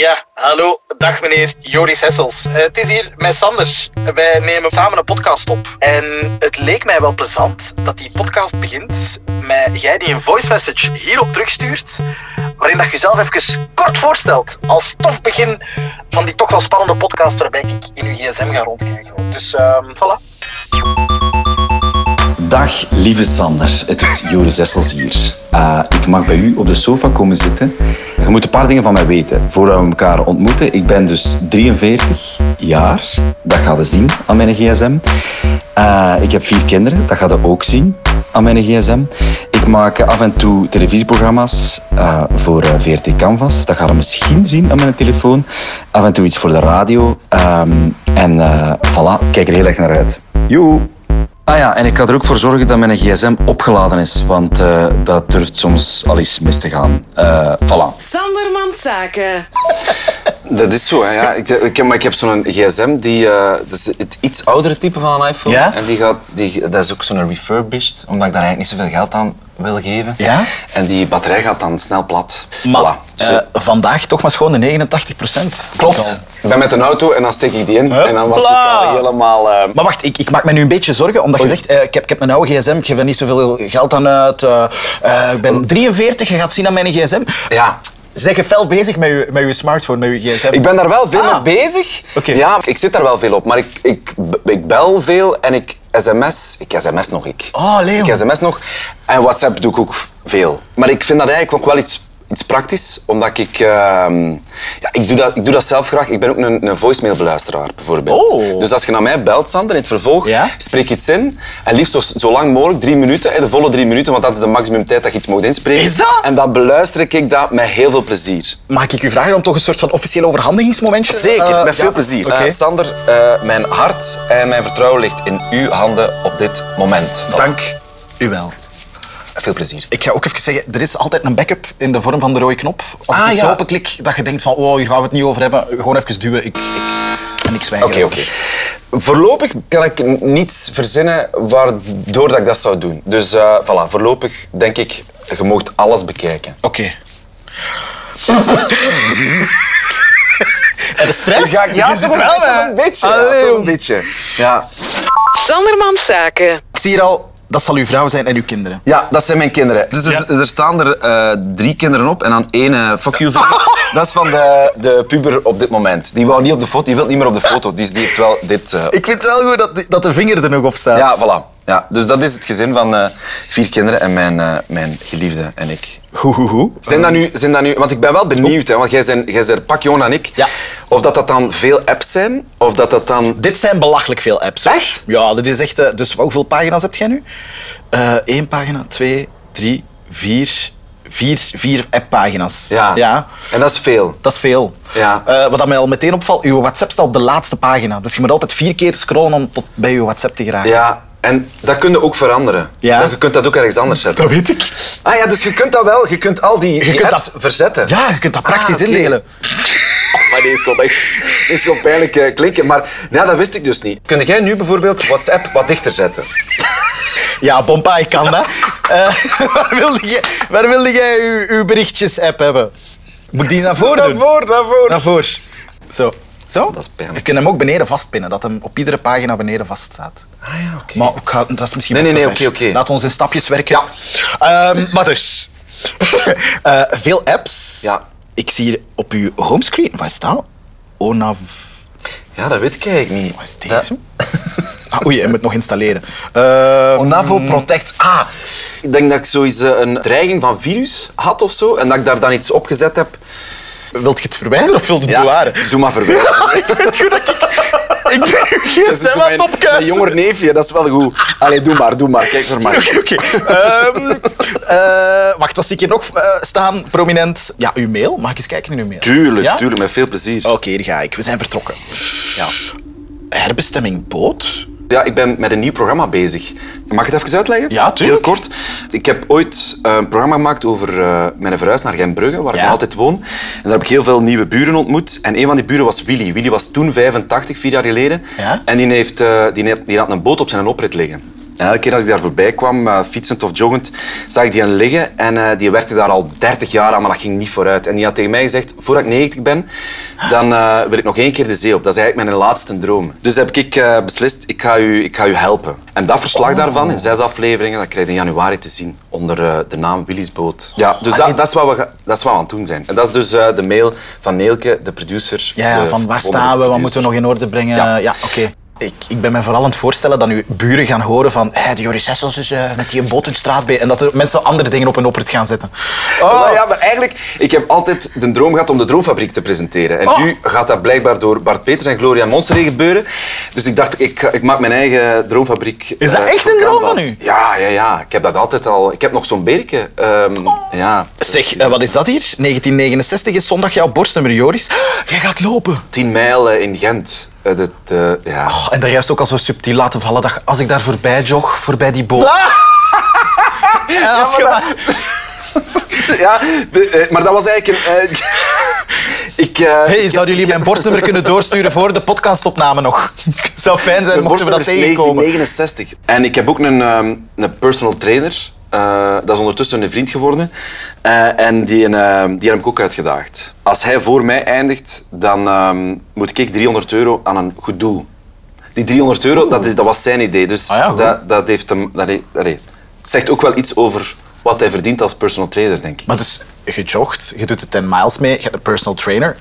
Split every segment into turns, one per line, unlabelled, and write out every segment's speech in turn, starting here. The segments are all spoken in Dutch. Ja, hallo. Dag meneer Joris Hessels. Eh, het is hier met Sander. Wij nemen samen een podcast op. En het leek mij wel plezant dat die podcast begint met jij die een voice message hierop terugstuurt, waarin dat je jezelf even kort voorstelt als tof begin van die toch wel spannende podcast waarbij ik in uw gsm ga rondkijken. Dus ehm voilà.
Dag lieve Sander, het is Joris Essels hier. Eh, ik mag bij u op de sofa komen zitten. Je moet een paar dingen van mij weten voordat we elkaar ontmoeten. Ik ben dus 43 jaar, dat gaan we zien aan mijn gsm. Eh, ik heb vier kinderen, dat gaat we ook zien aan mijn gsm. Ik maak af en toe televisieprogramma's eh, voor eh, VRT Canvas, dat gaan we misschien zien aan mijn telefoon. Af en toe iets voor de radio. Ehm, en eh voilà, ik kijk er heel erg naar uit. Joe! Ah ja, en ik ga er ook voor zorgen dat mijn gsm opgeladen is, want eh, dat durft soms al eens mis te gaan. Eh voilà.
Sandermans Zaken.
Dat is zo, hè, ja. Ik, ik, heb- maar ik heb zo'n gsm, die, eh, dat is het iets oudere type van een iPhone.
Ja?
En die gaat, die, dat is ook zo'n refurbished, omdat ik daar eigenlijk niet zoveel geld aan wil geven.
Ja?
En die batterij gaat dan snel plat.
Maar
Voilà.
eh,
Zo.
vandaag toch maar schoon de 89 procent.
Klopt. Ik ben met een auto en dan steek ik die in.
Hup.
En dan was ik
Hopla.
al helemaal... eh,
Maar wacht, ik, ik maak me nu een beetje zorgen, omdat je zegt, eh, ik, heb, ik heb mijn oude gsm, ik geef er niet zoveel geld aan uit. eh, eh, ik ben 43, je gaat zien aan mijn gsm.
ja.
Zeg je fel bezig met je, met je smartphone, met je gsm?
Ik ben daar wel veel
Ah.
mee bezig.
Oké.
Ja, ik zit daar wel veel op. Maar ik, ik, ik bel veel en ik sms. Ik sms nog, ik.
Oh, Leo.
Ik sms nog. En WhatsApp doe ik ook veel. Maar ik vind dat eigenlijk ook wel iets, iets praktisch. Omdat ik... ehm, ja, ik, doe dat, ik doe dat zelf graag. Ik ben ook een, een voicemailbeluisteraar, bijvoorbeeld.
Oh.
Dus als je naar mij belt, Sander, in het vervolg,
Ja?
spreek iets in. En liefst zo, zo lang mogelijk, drie minuten. hè, De volle drie minuten, want dat is de maximum tijd dat je iets mag inspreken.
Is dat?
En dan beluister ik dat met heel veel plezier.
Maak ik u vragen om toch een soort van officieel overhandigingsmomentje?
Zeker,
Eh,
met veel
ja,
plezier.
oké.
Eh, Sander, eh, mijn hart en mijn vertrouwen ligt in uw handen op dit moment. Voilà.
Dank u wel.
Veel plezier.
Ik ga ook even zeggen, er is altijd een backup in de vorm van de rode knop. Als
Ah,
ik iets
ja.
openklik, dat je denkt van, oh, hier gaan we het niet over hebben. Gewoon even duwen, ik, ik, en ik zwijg.
Oké, oké. Voorlopig kan ik niets verzinnen waardoor dat ik dat zou doen. Dus eh voilà, voorlopig denk ik, je moogt alles bekijken.
Oké. Er is stress?
Ga ik-
Je
toch
zit
een
er wel
beetje,
bij.
toch een beetje.
Allee,
ja, toch een
jong.
beetje. Ja.
Sandermans Zaken.
Ik zie hier al, dat zal uw vrouw zijn en uw kinderen.
ja, dat zijn mijn kinderen. Dus er, er staan er eh, drie kinderen op en dan één eh, fuck you vrouw. Dat is van de, de puber op dit moment. Die wou niet op de foto, die wil niet meer op de foto. Die, is- die heeft wel dit eh,
Ik vind het wel goed dat, dat de vinger er nog op staat.
Ja, voilà. Ja, dus dat is het gezin van eh, vier kinderen en mijn, eh, mijn geliefde en ik.
Goed, goed, goed.
Zijn dat nu, zijn dat nu want ik ben wel benieuwd, hè, want jij bent, jij bent pak Johan en ik.
Ja.
Of dat dat dan veel apps zijn, of dat dat dan...
Dit zijn belachelijk veel apps. hoor.
Echt?
Ja, dit is echt... eh, Dus hoeveel pagina's heb jij nu? Eén pagina, twee, drie, vier... Vier, vier app-pagina's. ja.
En dat is veel.
Dat is veel.
Ja.
Eh, wat dat mij al meteen opvalt, uw WhatsApp staat op de laatste pagina. Dus je moet altijd vier keer scrollen om tot bij uw WhatsApp te geraken.
Ja, en dat kun je ook veranderen.
Ja.
Je kunt dat ook ergens anders zetten.
Dat weet ik.
Ah ja, dus je kunt dat wel. Je kunt al die, die
kunt
apps
dat-
verzetten.
Ja, je kunt dat praktisch
Ah, oké.
indelen.
Maar deze komt echt... Deze is gewoon pijnlijk eh, klinken. Maar ja, dat wist ik dus niet. Kun jij nu bijvoorbeeld WhatsApp wat dichter zetten?
Ja, Pompa, ik kan dat. Eh, waar, wilde jij, waar wilde jij uw, uw berichtjes-app hebben? Moet die naar voren
Naar
doen?
voren, naar voren.
Naar voren. Zo. Zo?
Dat is pijnlijk.
Je kunt hem ook beneden vastpinnen, dat hem op iedere pagina beneden vast staat.
Ah ja, oké.
Maar ik ga- dat is misschien
Nee,
wel
nee,
te
nee,
ver.
oké, oké.
Laat ons in stapjes werken. Ehm, maar dus. Eh, veel apps.
Ja.
Ik zie hier op uw homescreen, wat is dat? Onav...
Ja, dat weet ik eigenlijk niet.
Wat is deze? Ah, oei, je moet nog installeren. Ehm,
Onavo Protect A. Ik denk dat ik zoiets eh, een dreiging van virus had of zo. En dat ik daar dan iets op gezet heb.
wilt je het verwijderen of wilt je het bewaren?
Doe maar verwijderen.
Ik vind het goed dat ik... Ik ben nu
Dat is zo
gsm aan
mijn,
het
mijn
opkuisen.
jonger neefje, dat is wel goed. Allee, doe maar, doe maar. Kijk maar maar.
Oké, oké. Ehm, eh, wacht, wat zie ik hier nog eh, staan? Prominent. Ja, uw mail. Mag ik eens kijken in uw mail?
Tuurlijk,
Ja?
tuurlijk, met veel plezier.
Oké, hier ga ik. We zijn vertrokken.
Ja.
Herbestemming boot?
Ja, ik ben met een nieuw programma bezig. Mag ik het even uitleggen?
Ja, tuurlijk.
Heel kort. Ik heb ooit eh, een programma gemaakt over eh, mijn verhuis naar Gembrugge, waar ik
Ja.
nog altijd woon. En daar heb ik heel veel nieuwe buren ontmoet. En een van die buren was Willy. Willy was toen 85, vier jaar geleden.
Ja.
En die, heeft, eh, die, heeft- die had een boot op zijn oprit liggen. En elke keer als ik daar voorbij kwam, eh, fietsend of joggend, zag ik die aan liggen. En eh, die werkte daar al 30 jaar aan, maar dat ging niet vooruit. En die had tegen mij gezegd, voordat ik 90 ben, dan eh, wil ik nog één keer de zee op. Dat is eigenlijk mijn laatste droom. Dus heb ik eh, beslist, ik ga, u, ik ga u helpen. En dat verslag
Oh.
daarvan, in zes afleveringen, dat krijg je in januari te zien. Onder eh, de naam Willy's Boot. Ja, dus dat, dat, is wat we, ga- dat is wat we aan het doen zijn. En dat is dus eh, de mail van Neelke, de producer.
Ja,
de
van waar
wonderlijke
staan we, wat
producer.
moeten we nog in orde brengen? Eh, Ja,
Ja.
oké. Ik, ik ben me vooral aan het voorstellen dat nu buren gaan horen van hey, de Joris Hessels is eh, met die een boot in de straat bij. En dat de mensen andere dingen op hun oprit gaan zetten.
Oh. Ja, maar eigenlijk, ik heb altijd de droom gehad om de Droomfabriek te presenteren. En
Oh.
nu gaat dat blijkbaar door Bart Peters en Gloria Monsteré gebeuren. Dus ik dacht, ik, ga- ik maak mijn eigen Droomfabriek.
Is dat
eh,
echt
voor
een droom van
canvas.
u?
Ja, ja, ja. Ik heb dat altijd al. Ik heb nog zo'n berken. Ehm,
Oh.
Ja.
Zeg, eh, wat is dat hier? 1969 is zondag jouw borstnummer, Joris. Jij gaat lopen.
10 mijl eh, in Gent. Eh, dat, eh, ja.
Oh, en daar juist ook al zo subtiel laten vallen dat als ik daar voorbij jog, voorbij die boot. Ah! Ja, maar dat- Oh.
ja, de- eh, maar dat was eigenlijk een... eh, ik, eh,
Hey, zouden jullie mijn borstnummer kunnen doorsturen voor de podcastopname nog? Zou fijn zijn
Mijn
mochten we dat
borstnummer is
tegenkomen.
1969. En ik heb ook een, ehm, een personal trainer. Eh, dat is ondertussen een vriend geworden. Eh, en die, ehm, die heb ik ook uitgedaagd. Als hij voor mij eindigt, dan ehm, moet ik 300 euro aan een goed doel. Die 300 euro, dat, is, dat was zijn idee. Dus
Ah ja, goed.
dat, dat heeft hem... Dat, he- dat he- zegt ook wel iets over wat hij verdient als personal trainer, denk ik.
Maar dus, je jogt, je doet de 10 miles mee, je hebt een personal trainer.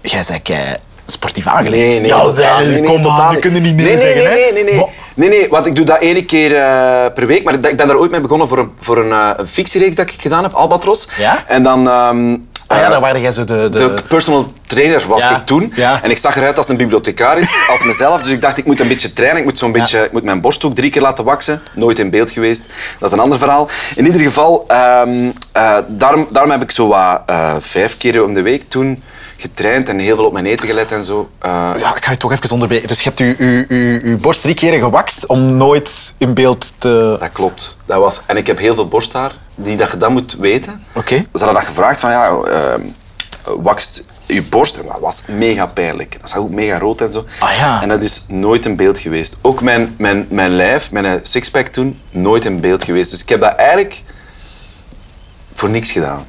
Jij zei kei sportief aangelegd.
Nee, nee,
ja,
totaal
wel,
niet. Nee,
kom
totaal
aan,
niet.
we kunnen niet nee, zeggen.
nee, nee,
hè.
nee, nee.
Maar-
nee, nee, want ik doe dat ene keer eh, per week. Maar ik ben daar ooit mee begonnen voor een, voor een, eh, een fictiereeks dat ik gedaan heb, Albatros.
Ja?
En dan... ehm,
Ah ja,
eh,
daar waren jij zo de... de...
de personal trainer was
Ja,
ik toen.
ja.
En ik zag eruit als een bibliothecaris, als mezelf. Dus ik dacht, ik moet een beetje trainen. Ik moet, zo'n beetje, ik moet mijn borsthoek drie keer laten waksen. Nooit in beeld geweest. Dat is een ander verhaal. In ieder geval, ehm, eh, daarom, daarom heb ik zo wat, eh, vijf keer om de week toen getraind en heel veel op mijn eten gelet en zo. Eh,
Ja, ik ga je toch even onderbreken. Dus je hebt je, je, je, je borst drie keren gewakst om nooit in beeld te...
Dat klopt. Dat was, en ik heb heel veel borsthaar, die dat je dat moet weten.
Oké.
Ze hadden dat gevraagd van, ja, ehm, wakst je borst. En dat was mega pijnlijk. Dat zag ook mega rood en zo.
Ah, ja.
En dat is nooit in beeld geweest. Ook mijn, mijn, mijn lijf, mijn eh, sixpack toen, nooit in beeld geweest. Dus ik heb dat eigenlijk voor niks gedaan.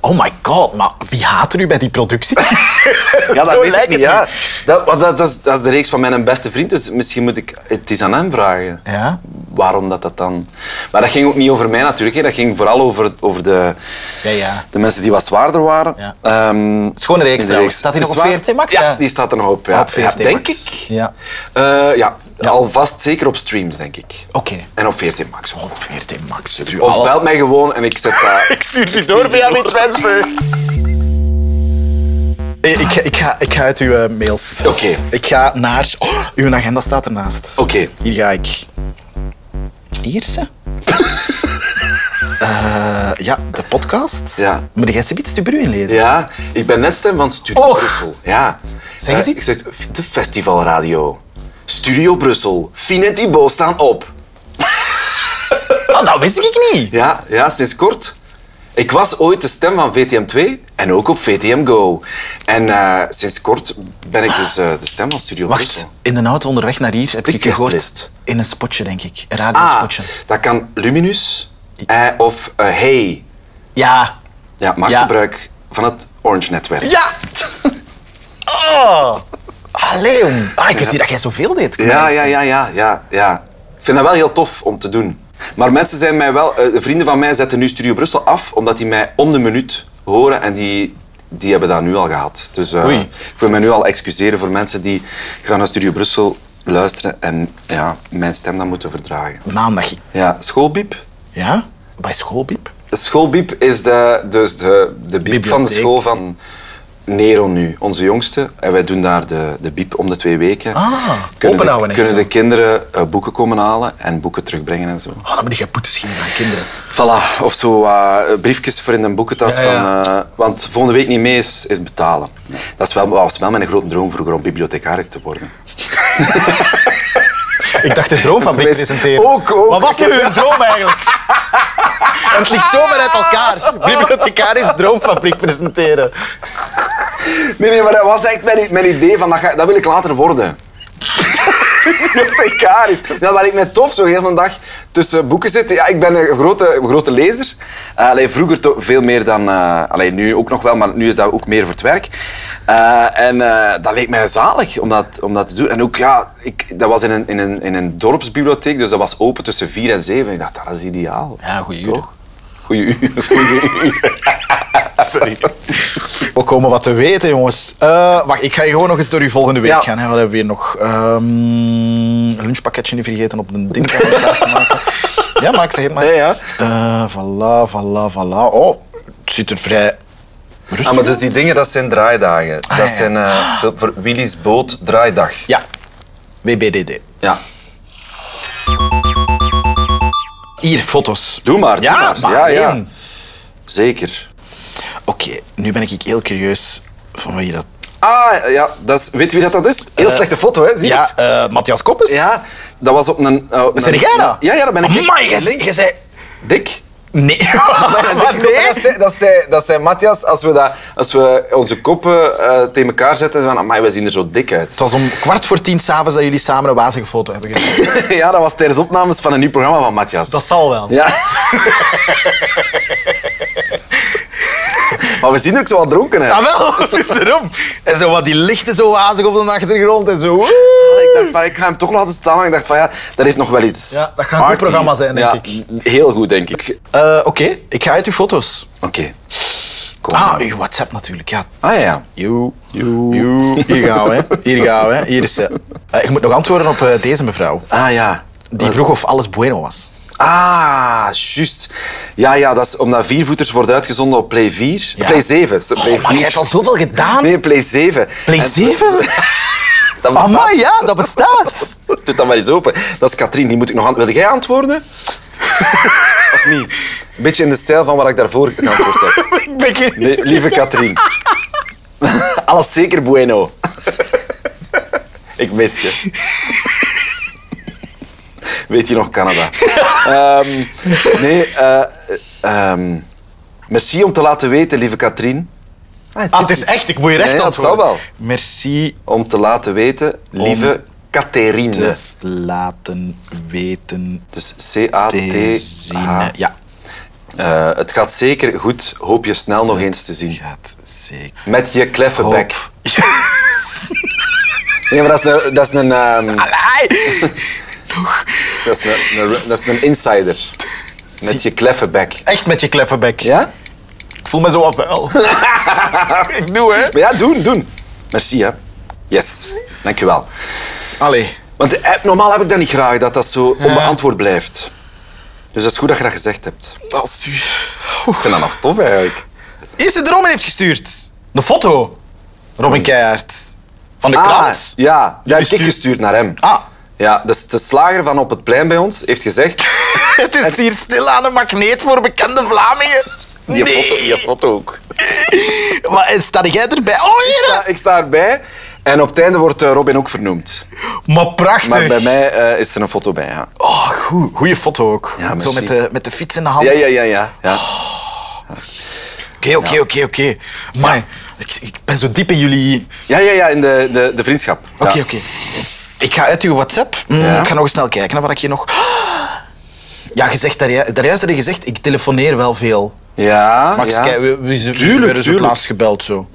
Oh my god, maar wie haat er u bij die productie?
Ja, dat
Zo
weet ik
lijkt
niet,
het
ja. Dat, want dat, dat, is, dat is de reeks van mijn beste vriend, dus misschien moet ik het eens aan hem vragen.
Ja.
Waarom dat, dat dan... Maar dat ging ook niet over mij natuurlijk, hè. dat ging vooral over, over de,
Ja, ja.
de mensen die wat zwaarder waren.
Ja.
Ehm,
Schone reeks
in de
trouwens. Staat die
Is
nog
het
op
waar?
14 max,
Ja,
ja?
die staat er nog op. Ja.
Op 14
ja, denk
max.
ik.
Ja.
Eh, ja. Alvast zeker op streams, denk ik.
Oké.
En op 14 max.
Oh, 14 max. zit u
Of
alles-
belt mij gewoon en ik zet dat...
Ik stuur ze door via die transfer. Ik, ik, ik, ga, ik ga uit uw eh, mails.
Oké.
Ik ga naar... Oh, uw agenda staat ernaast.
Oké.
Hier ga ik. Hier ze? Eh, ja, de podcast.
Ja.
Moet jij ze iets te bruin lezen?
Ja, ik ben net stem van Studio
Och.
Brussel. Ja.
Zeg eens
Eh,
iets.
Ik zeg, de festivalradio. Studio Brussel. Fien en Thibaut staan op.
Ah, dat wist ik niet.
Ja, ja, sinds kort. Ik was ooit de stem van VTM2 en ook op VTM Go. En eh, sinds kort ben ik dus eh, de stem van Studio
Wacht,
Brussel.
in de auto onderweg naar hier heb
De
ik gehoord...
guestlist.
In een spotje, denk ik. Een
Ah,
radiospotje.
dat kan Luminus eh, of eh, Hey.
Ja.
Ja, maak
Ja.
gebruik van het Orange Netwerk.
Ja! Oh! Allee, jong. Ah, ik wist niet dat jij zoveel deed.
Ja, ja, ja, ja, ja, ja. Ik vind dat wel heel tof om te doen. Maar mensen zijn mij wel... eh, vrienden van mij zetten nu Studio Brussel af, omdat die mij om de minuut horen en die, die hebben dat nu al gehad. Dus eh,
Oei.
ik wil mij nu al excuseren voor mensen die graag naar Studio Brussel luisteren en ja, mijn stem dan moeten verdragen.
Maandag.
Ja, schoolbiep.
Ja? Bij schoolbiep.
Schoolbiep is de, dus de, de biep van de
Bibliotheek.
school van Nero nu, onze jongste. En wij doen daar de, de biep om de twee weken.
Ah,
kunnen
openhouden
de,
echt
kunnen
zo.
de kinderen eh, boeken komen halen en boeken terugbrengen en zo.
Oh, dan moet je boetes geven aan kinderen.
Voilà, of zo eh, briefjes voor in de boekentas.
Ja, ja.
Van, eh, want volgende week niet mee is, is betalen. Dat is wel, was wel mijn grote droom vroeger om bibliothecaris te worden.
Ik dacht de droomfabriek
Dat is-
presenteren.
ook, ook.
Wat was nu hun droom eigenlijk? Want het ligt zo ver uit elkaar. Bibliothecaris droomfabriek presenteren.
Nee, nee, maar dat was echt mijn, mijn idee van dat, ga- dat wil ik later worden. bibliothecaris. Ja, dat ik me tof zo heel een dag tussen boeken zit. Ja, ik ben een grote, grote lezer. Eh, allee, vroeger toch veel meer dan... eh allee, nu ook nog wel, maar nu is dat ook meer voor het werk. Eh, en eh, dat leek mij zalig om dat, om dat te doen. En ook, ja, ik, dat was in een, in, een, in een dorpsbibliotheek, dus dat was open tussen vier en zeven. Ik dacht, dat is ideaal.
Ja, goeie uren.
Toch? Goeie uur. Goeie uur. Sorry.
We komen wat te weten, jongens. Eh, wacht, ik ga je gewoon nog eens door uw volgende week
Ja.
gaan. Hè. Wat hebben we hier nog? Ehm, een lunchpakketje niet vergeten op de ding. ja, maar ik zeg het maar.
Nee, ja.
Eh, voilà, voilà, voilà. Oh, het ziet er vrij rustig
Ah, maar dus
uit.
die dingen, dat zijn draaidagen.
ja.
dat zijn eh, veel- voor Willy's boot draaidag.
Ja, WBDD.
Ja.
Hier, foto's.
Doe maar, doe
Ja,
maar.
maar
ja, ja.
alleen.
Zeker.
Oké, nu ben ik heel curieus van wie dat...
Ah, ja, dat is, weet je wie dat, dat is? Heel
Eh,
slechte foto, hè? Zie je
ja,
het?
eh, Matthias Koppes?
Ja, dat was op een... eh, op
Zijn
een-
jij dat?
Ja, ja, dat ben ik.
Amai, jij Oh zei- Ah, jij zei...
Dik.
Nee. Maar
Dat
nee.
zei, dat zei, dat zei Matthias, als we, dat, als we onze koppen eh tegen elkaar zetten, van, amai, we zien er zo dik uit.
Het was om kwart voor tien s'avonds dat jullie samen een wazige foto hebben gedaan.
ja, dat was tijdens opnames van een nieuw programma van Matthias.
Dat zal wel.
Ja. maar we zien er ook zo wat dronken uit.
Ah, wel, het is erom. En zo wat die lichten zo wazig op de achtergrond en zo.
Ik dacht van, ik ga hem toch laten staan. Maar ik dacht van, ja, dat heeft nog wel iets.
Ja, dat gaat een goed
arty.
programma zijn, denk
Ja,
ik.
Heel goed, denk ik.
Eh, Oké, ik ga uit uw foto's.
Oké. Kom.
Ah, uw WhatsApp natuurlijk, ja.
Ah, ja.
Joe. Joe. Hier gaan we, hè. Hier gaan we, hè. Hier is ze. Eh, ik moet nog antwoorden op eh, deze mevrouw.
Ah, ja.
Die vroeg of alles bueno was.
Ah, juist. Ja, ja, dat is omdat Viervoeters wordt uitgezonden op Play 4.
Ja.
Play 7. Play
Oh, maar
4.
jij hebt al zoveel gedaan.
Nee, Play 7.
Play
En-
7?
dat bestaat.
Amai, ja, dat bestaat.
Doe dat maar eens open. Dat is Katrien, die moet ik nog aan... Wil jij antwoorden? of niet? Een beetje in de stijl van wat ik daarvoor geantwoord heb.
Ik ben geen-
Nee, lieve Katrien. Alles zeker bueno. Ik mis je. Weet je nog Canada? Ehm, nee, eh, ehm, merci om te laten weten, lieve Katrien.
Ah, het is echt, ik moet je recht
Nee, dat
antwoorden.
zal wel.
Merci
Om te laten weten, lieve Katherine.
te laten weten.
Dus C-A-T-H.
Terine. Ja,
Eh, het gaat zeker goed. Hoop je snel nog eens te zien.
gaat zeker.
Met je kleffe
Hoop.
bek. Nee, maar dat is een... Dat is een, ehm, dat is een, een- dat is een insider. Met je kleffe bek.
Echt met je kleffenbek.
Ja?
Ik voel me zo af wel. ik doe, hè.
Maar ja, doen, doen. Merci, hè. Yes. Dankjewel.
Allee.
Want eh, normaal heb ik dat niet graag, dat dat zo onbeantwoord blijft. Dus dat is goed dat je dat gezegd hebt. Ah,
Dat is u.
Ik vind dat nog tof, eigenlijk.
Is het Robin heeft gestuurd? De foto. Robin Keijert. Van de krant.
Ah, ja. Dat heb
Jullie
ik
stuur-
gestuurd naar hem.
Ah.
Ja, dus de slager van op het plein bij ons heeft gezegd...
Het is hier stilaan een magneet voor bekende Vlamingen.
Die
nee.
foto, die foto ook.
Maar eh, sta jij erbij? Oh,
Ik
hier!
sta, ik sta erbij. En op het einde wordt eh, Robin ook vernoemd.
Maar prachtig.
Maar bij mij eh, is er een foto bij. Ja,
Oh, goed. Goeie foto ook.
Ja, merci.
Zo met de, met de fiets in de hand.
ja, ja, ja. ja, ja.
Oké, oké, oké, oké. Maar ik, ik ben zo diep in jullie...
Ja, ja, ja, in de, de, de vriendschap. Ja.
Oké, oké. Ik ga uit uw WhatsApp. Mm,
Ja.
Ik ga nog eens snel kijken hè, wat ik hier nog... Ja, gezegd, daar, daarjuist had je gezegd, ik telefoneer wel veel.
Ja,
Max,
Ah, ja.
kijk, wie, wie, is er- wie
Tuurlijk,
werd er zo het
tuurlijk.
laatst gebeld zo?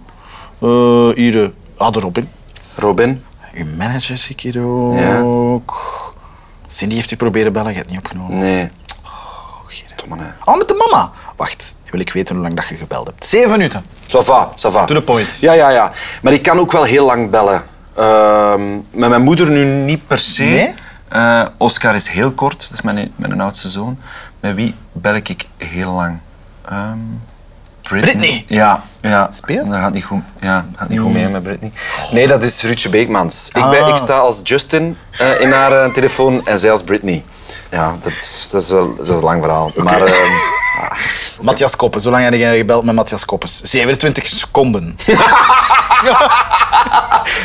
Eh hier, eh, ah, de Robin.
Robin.
Uw manager zie ik hier ook. Cindy heeft u proberen bellen, je hebt niet opgenomen.
Nee.
Gerard.
Domme, hè.
Oh, met de mama. Wacht, nu wil ik weten hoe lang dat je gebeld hebt. Zeven minuten.
Ça va, ça va.
To the point.
Ja, ja, ja. Maar ik kan ook wel heel lang bellen. Ehm, met mijn moeder nu niet per se.
Nee?
Eh, Oscar is heel kort, dat is mijn, mijn oudste zoon. Met wie bel ik heel lang? Ehm, Britney.
Britney?
Ja, ja.
Speelt?
Dat gaat niet goed, ja, gaat niet goed mee met Britney. Nee, dat is Ruudje Beekmans. Ik, ben,
Ah.
ik sta als Justin eh, in haar eh, telefoon en zij als Britney. Ja, dat, is- dat, is, wel- dat is een lang verhaal. Maar ehm,
Matthias Koppes, hoe lang heb jij gebeld met Matthias Koppes? 27 seconden.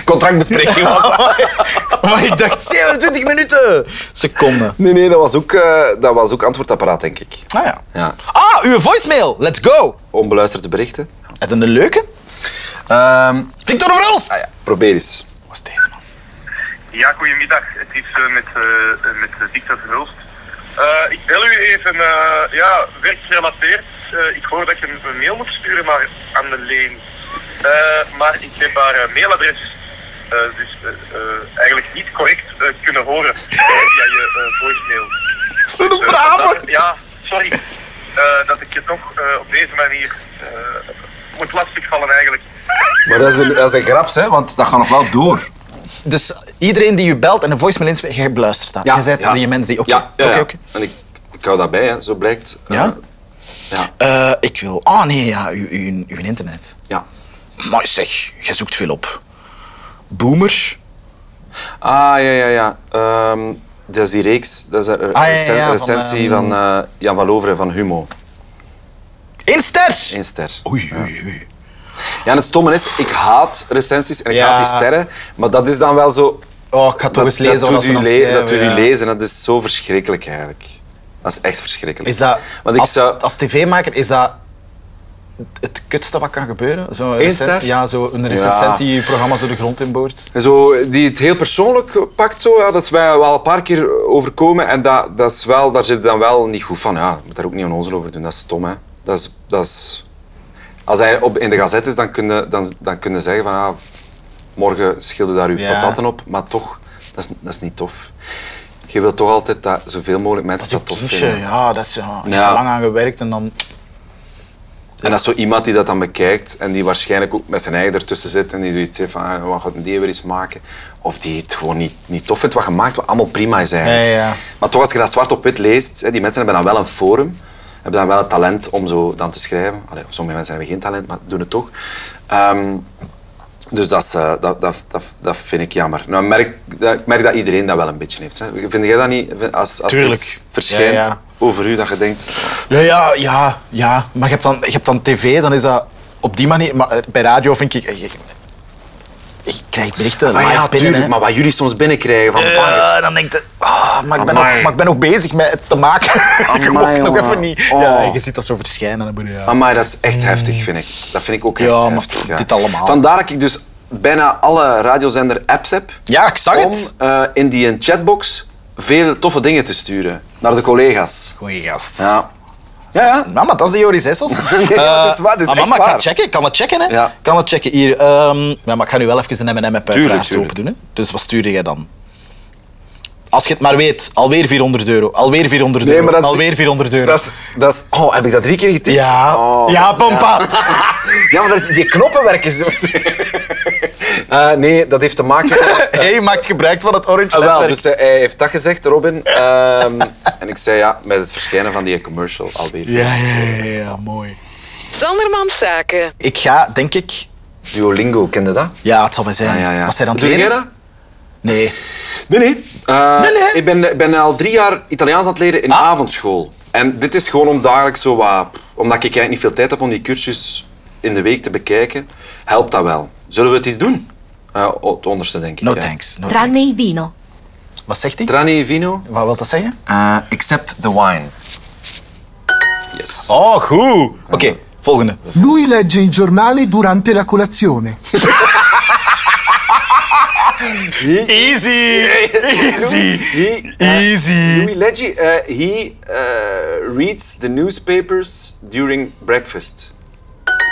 contractbespreking was dat.
maar ik dacht 27 minuten. Seconden.
Nee, nee, dat was ook, eh, dat was ook antwoordapparaat, denk ik.
Ah ja.
Ja.
Ah, uw voicemail. Let's go.
Onbeluisterde berichten.
Heb je een leuke?
Ehm,
Victor Verhulst.
Ah, probeer eens.
Wat is deze man?
Ja, goedemiddag. Het is eh, met, eh met eh, Victor Verhulst. Eh, ik bel u even, eh, ja, werkgerelateerd. Eh, ik hoor dat je een, een mail moet sturen maar aan de leen. Eh, maar ik heb haar eh, mailadres eh, dus eh, eh, eigenlijk niet correct eh, kunnen horen eh, via je eh, voicemail.
Zo'n
Eh,
brave.
vandaar- ja, sorry eh, dat ik je toch eh, op deze manier eh, moet lastigvallen eigenlijk.
Maar dat is een, dat is een grap, hè? want dat gaat nog wel door.
Dus iedereen die u belt en een voicemail inspreekt, jij beluistert dat. jij bent die mens die... Oké,
Ja, ja,
oké,
ja.
oké.
En ik, ik hou daarbij, hè. zo blijkt. Eh,
Ja?
ja.
Eh, ik wil... Oh nee, ja, uw, uw, uw internet.
ja.
Maar zeg, jij zoekt veel op. Boomer.
Ah, ja, ja, ja. Ehm, dat is die reeks, dat is een
Ah, ja, ja,
recen-
ja, van,
recensie
ehm,
van, eh, Jan van Loveren van Humo.
Eén ster!
Eén ster.
Oei, oei, oei.
Ja, en het stomme is, ik haat recensies en ik
Ja.
haat die sterren, maar dat is dan wel zo...
Oh, ik ga toch eens lezen
dat doet
wat ze
u
dan
le-
schrijven,
Dat doet u
ja.
lezen, dat is zo verschrikkelijk eigenlijk. Dat is echt verschrikkelijk.
Is dat...
Want ik
als,
zou...
als tv-maker is dat... Het kutste wat kan gebeuren? Zo'n recen-
ster?
Ja, zo'n recensent die je programma zo de grond in boort.
Zo, die het heel persoonlijk pakt, zo, ja, dat is mij wel een paar keer overkomen. En dat, dat is wel, daar zit ik dan wel niet goed van. Ja, je moet daar ook niet onnozel over doen, dat is stom. Hè. Dat is, dat is... Als hij op, in de gazette is, dan kun je, dan, dan kun je zeggen van... Ah, morgen schilder daar uw
Ja.
patatten op. Maar toch, dat is, dat is niet tof. Je wilt toch altijd dat zoveel mogelijk mensen
Zo'n
dat, tof
kindje,
vinden.
ja, dat is ja, ik heb
Ja.
er lang aan gewerkt en dan...
En dat is zo iemand die dat dan bekijkt en die waarschijnlijk ook met zijn eigen ertussen zit en die zoiets heeft van, ah, wat gaat die weer eens maken? Of die het gewoon niet, niet tof vindt, wat gemaakt wat allemaal prima is eigenlijk.
Ja, ja.
Maar toch, als je dat zwart op wit leest, hè, die mensen hebben dan wel een forum, hebben dan wel het talent om zo dan te schrijven. Allee, of sommige mensen hebben geen talent, maar doen het toch. Ehm, dus dat, is, eh, dat, dat, dat, dat vind ik jammer. Nou, ik merk, dat, ik merk dat iedereen dat wel een beetje heeft. Hè. Vind jij dat niet? Als, als
Tuurlijk.
iets verschijnt
Ja, ja.
over u, dat je denkt...
Ja, ja, ja, ja. Maar je hebt, dan, je hebt dan tv, dan is dat op die manier... Maar eh, bij radio vind ik... Ik, ik krijg berichten
Maar
live
Ah, ja,
binnen,
tuurlijk,
hè.
maar wat jullie soms binnenkrijgen van bangers.
Ja, dan denk je... ah, maar, ik ben nog,
Amai.
maar ik ben nog bezig met het te maken.
Amai,
ik nog
jongen.
even niet.
Oh.
Ja, je ziet dat zo verschijnen. dan ben je, ja.
Maar dat is echt heftig, vind ik. Dat vind ik ook echt
Ja, maar
heftig.
pff, dit allemaal.
Vandaar dat ik dus bijna alle radiozender-apps heb.
Ja, ik zag
om
het.
eh, in die chatbox veel toffe dingen te sturen naar de collega's.
Goeie gast.
Ja. Ja, ja.
Mama, dat is de Joris Hessels.
Nee, dat is waar, dat is
Eh,
echt
ah, mama, ik kan
waar.
checken. Ik kan het checken, hè.
Ja.
Ik kan het checken. Hier, ehm, ja, maar ik ga nu wel even een M&M app uiteraard
tuurlijk.
open doen. Hè. Dus wat stuurde jij dan? Als je het maar weet, alweer 400 euro. Alweer 400 euro. alweer 400 euro.
Dus Dat is, dat is, oh, heb ik dat drie keer getikt?
Ja.
Oh.
ja, pompa.
Ja, maar dat- die knoppen werken zo. Eh, nee, dat heeft te maken...
Hey, maakt gebruik van het Orange
Ah, wel,
netwerk.
dus eh, hij heeft dat gezegd, Robin. Ehm, en ik zei ja, met het verschijnen van die commercial alweer.
ja, ja, ja, ja, mooi.
Sandermans Zaken.
Ik ga, denk ik...
Duolingo, kende dat?
Ja, het zal wel zijn.
Ah, ja, ja.
Was zij dan
Doe
leren?
jij dat?
Nee.
Nee, nee. Eh,
Nee, nee. Ah.
Ik ben, ik ben al drie jaar Italiaans aan het leren in avondschool. En dit is gewoon om dagelijks zo wat... Omdat ik eigenlijk niet veel tijd heb om die cursus in de week te bekijken, helpt dat wel. Zullen we het eens doen? Eh, o- het onderste, denk ik.
No
ja.
thanks. No
Tranne
thanks.
il vino.
Wat zegt hij?
Trani e vino?
Wat wil dat zeggen?
except the wine. Yes.
Oh, goed. Oké, volgende.
Lui legge i giornali durante la colazione.
Easy.
He, eh, Louis Leggy, eh, he eh, reads the newspapers during breakfast.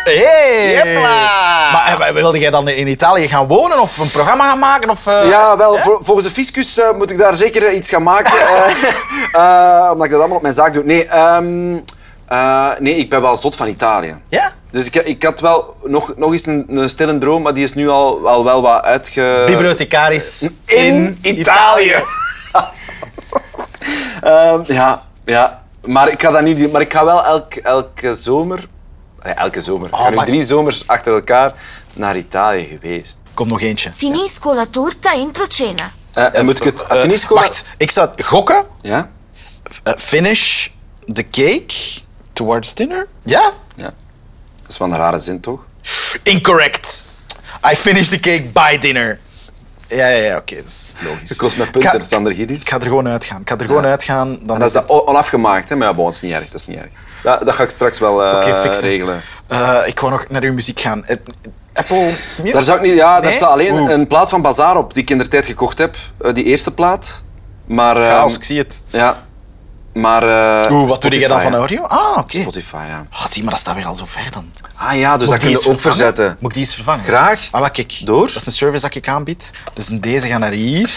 Hey! Maar eh, wilde jij dan in Italië gaan wonen of een programma gaan maken? Of, eh?
Ja, wel, vol- volgens de fiscus eh, moet ik daar zeker eh, iets gaan maken. eh, eh, omdat ik dat allemaal op mijn zaak doe. Nee, ehm, eh, nee, ik ben wel zot van Italië.
Ja?
Dus ik, ik had wel nog, nog eens een, een stille droom, maar die is nu al, al wel wat uitge...
Eh, Bibliothecaris
eh,
in,
in Italië. Ehm, ja, ja. Maar ik ga dat nu, maar ik ga wel elk, elke zomer, nee, elke zomer, ik
Oh,
ben nu
maar-
drie zomers achter elkaar naar Italië geweest.
Kom nog eentje.
Finisco la torta entro cena.
Eh, en moet ik het
Eh,
Affinisco?
Wacht, ik zou gokken.
Ja?
Eh, finish the cake towards dinner. Ja?
Ja. Dat is wel een rare zin, toch?
Incorrect. I finish the cake by dinner. Ja, ja, ja, oké, dat is logisch.
Dat kost me
Ik
punten,
ga-
Sander Gidis.
Ik ga er gewoon uitgaan. Ik ga er gewoon uitgaan. Dan
Dat
is
is dat al afgemaakt, hè? maar ja, bon, dat is niet erg. Dat, is niet erg. dat, dat ga ik straks wel eh
Oké, fixen.
regelen.
Eh, ik wou nog naar uw muziek gaan. Eh, Apple Music?
Daar, zou ik niet, ja, daar
Nee?
staat alleen
Oeh.
een plaat van Bazaar op die ik in de tijd gekocht heb. Eh, die eerste plaat. Maar, eh,
Chaos, ik zie het.
Ja. Maar... eh,
Oeh, wat doe
Spotify,
jij dan van
hè.
audio? Ah, oké.
Spotify, ja.
Ah, zie, maar dat staat weer al zo ver dan.
Ah ja, dus
Moet
dat
ik die
kun
eens
je ook
vervangen?
verzetten.
Moet ik die eens vervangen?
Graag.
Ah, wat kijk.
Door?
Dat is een service dat ik aanbied. Dus in deze gaan naar hier.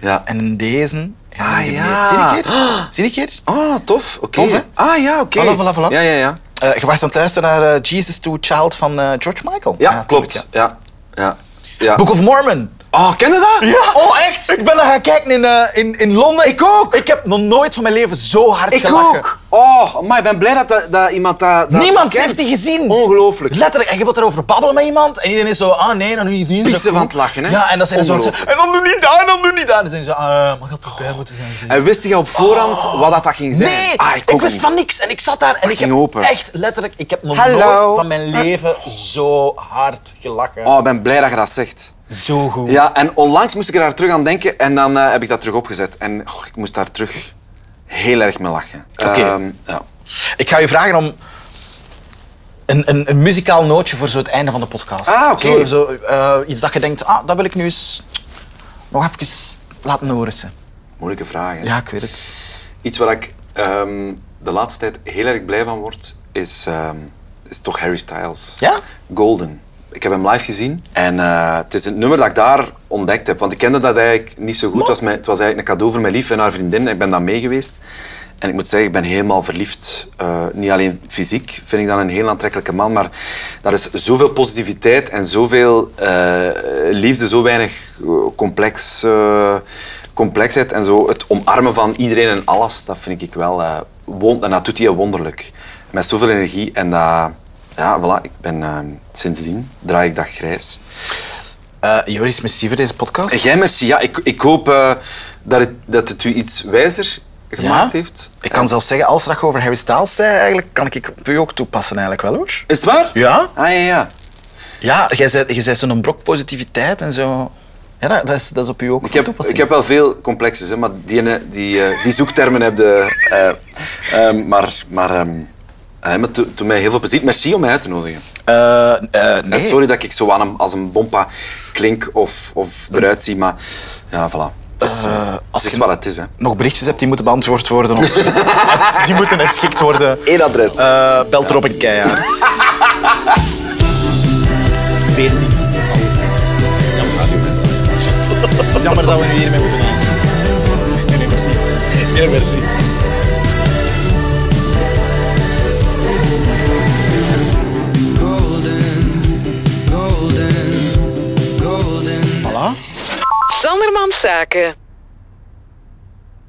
Ja.
En in deze gaan naar
Ah,
beneden.
ja.
Zie ik hier? Zie ik hier?
Ah, tof. Oké.
Tof, hè?
Ah ja, oké.
Voilà, voilà, voilà.
Ja, ja, ja.
Eh, je wacht aan het luisteren naar eh, Jesus to Child van eh, George Michael.
Ja,
natuurlijk,
klopt.
ja.
Ja. Ja. ja.
Book of Mormon.
Oh, ken je dat?
Oh, echt? Ik ben er gaan kijken in, eh, in, in Londen. Ik ook. Ik heb nog nooit van mijn leven zo hard
Ik
gelachen.
ook. Oh, maar ik ben blij dat, dat, dat iemand dat, dat
Niemand
kent.
heeft die gezien.
Ongelooflijk.
Letterlijk, en je wilt erover babbelen met iemand en iedereen is zo, ah nee, dan doe je die.
Pissen
Dat is
van
goed.
het lachen, hè?
Ja, en dan zijn ze zo,
Ongelooflijk.
en dan doe niet daar, en dan doe niet daar. Dan zijn ze, ah, maar je had erbij moeten zijn. zeg.
En wist je op voorhand wat dat, dat ging zijn?
Oh. Nee,
Ah,
ik,
ook
wist
niet.
van niks en ik zat daar en ik
ging
heb
open.
echt letterlijk, ik heb nog
Hallo.
nooit van mijn leven zo hard gelachen.
Oh, ik ben blij dat je dat zegt.
Zo goed.
Ja, en onlangs moest ik er daar terug aan denken en dan eh, heb ik dat terug opgezet. En goh, ik moest daar terug heel erg mee lachen.
Oké.
Ehm, ja.
Ik ga je vragen om een, een, een muzikaal nootje voor zo het einde van de podcast.
Ah, oké.
Zo, zo, eh, iets dat je denkt, ah, dat wil ik nu eens nog even laten horen. ze.
Moeilijke vragen.
Ja, ik weet het.
Iets waar ik ehm, de laatste tijd heel erg blij van word, is, ehm, is toch Harry Styles.
Ja?
Golden. Ik heb hem live gezien en eh, het is het nummer dat ik daar ontdekt heb. Want ik kende dat eigenlijk niet zo goed. Het was, mijn- het was eigenlijk een cadeau voor mijn lief en haar vriendin. Ik ben daar mee geweest. En ik moet zeggen, ik ben helemaal verliefd. Eh, niet alleen fysiek, vind ik dan een heel aantrekkelijke man. Maar daar is zoveel positiviteit en zoveel eh, liefde, zo weinig eh, complex, eh, complexheid. En zo het omarmen van iedereen en alles, dat vind ik wel... eh won- en dat doet hij wonderlijk. Met zoveel energie en dat... Ja, voilà. Ik ben, eh, sindsdien draai ik dat grijs.
Eh, Joris, merci voor deze podcast.
En jij, merci. Ja, ik, ik hoop eh, dat, het, dat het u iets wijzer gemaakt heeft. Eh.
Ik kan zelfs zeggen, als dat je over Harry Styles zei, eigenlijk, kan ik op u ook toepassen eigenlijk wel hoor.
Is het waar?
Ja?
Ah, ja, ja.
Ja, jij zei, jij zei zo'n brok positiviteit en zo. Ja, dat, dat is, dat is op u ook
Ik heb, ik heb wel veel complexes, hè, maar die, ene- die, eh, die zoektermen heb je... eh, ehm, maar... maar ehm, eh, maar het doet mij heel veel plezier. Merci om mij uit te nodigen.
Eh, nee.
En sorry dat ik zo aan hem als een bompa klink of, of eruit zie, maar ja, voilà. Het is, eh, het is wat het is. Hè.
nog berichtjes hebt die moeten beantwoord worden of apps die moeten herschikt worden,
Eén adres.
eh, belt erop een keihard. 14. Het is jammer dat we nu hiermee moeten eindigen. Nee, nee, merci. Nee, merci. Voilà.
Sanderman Zaken.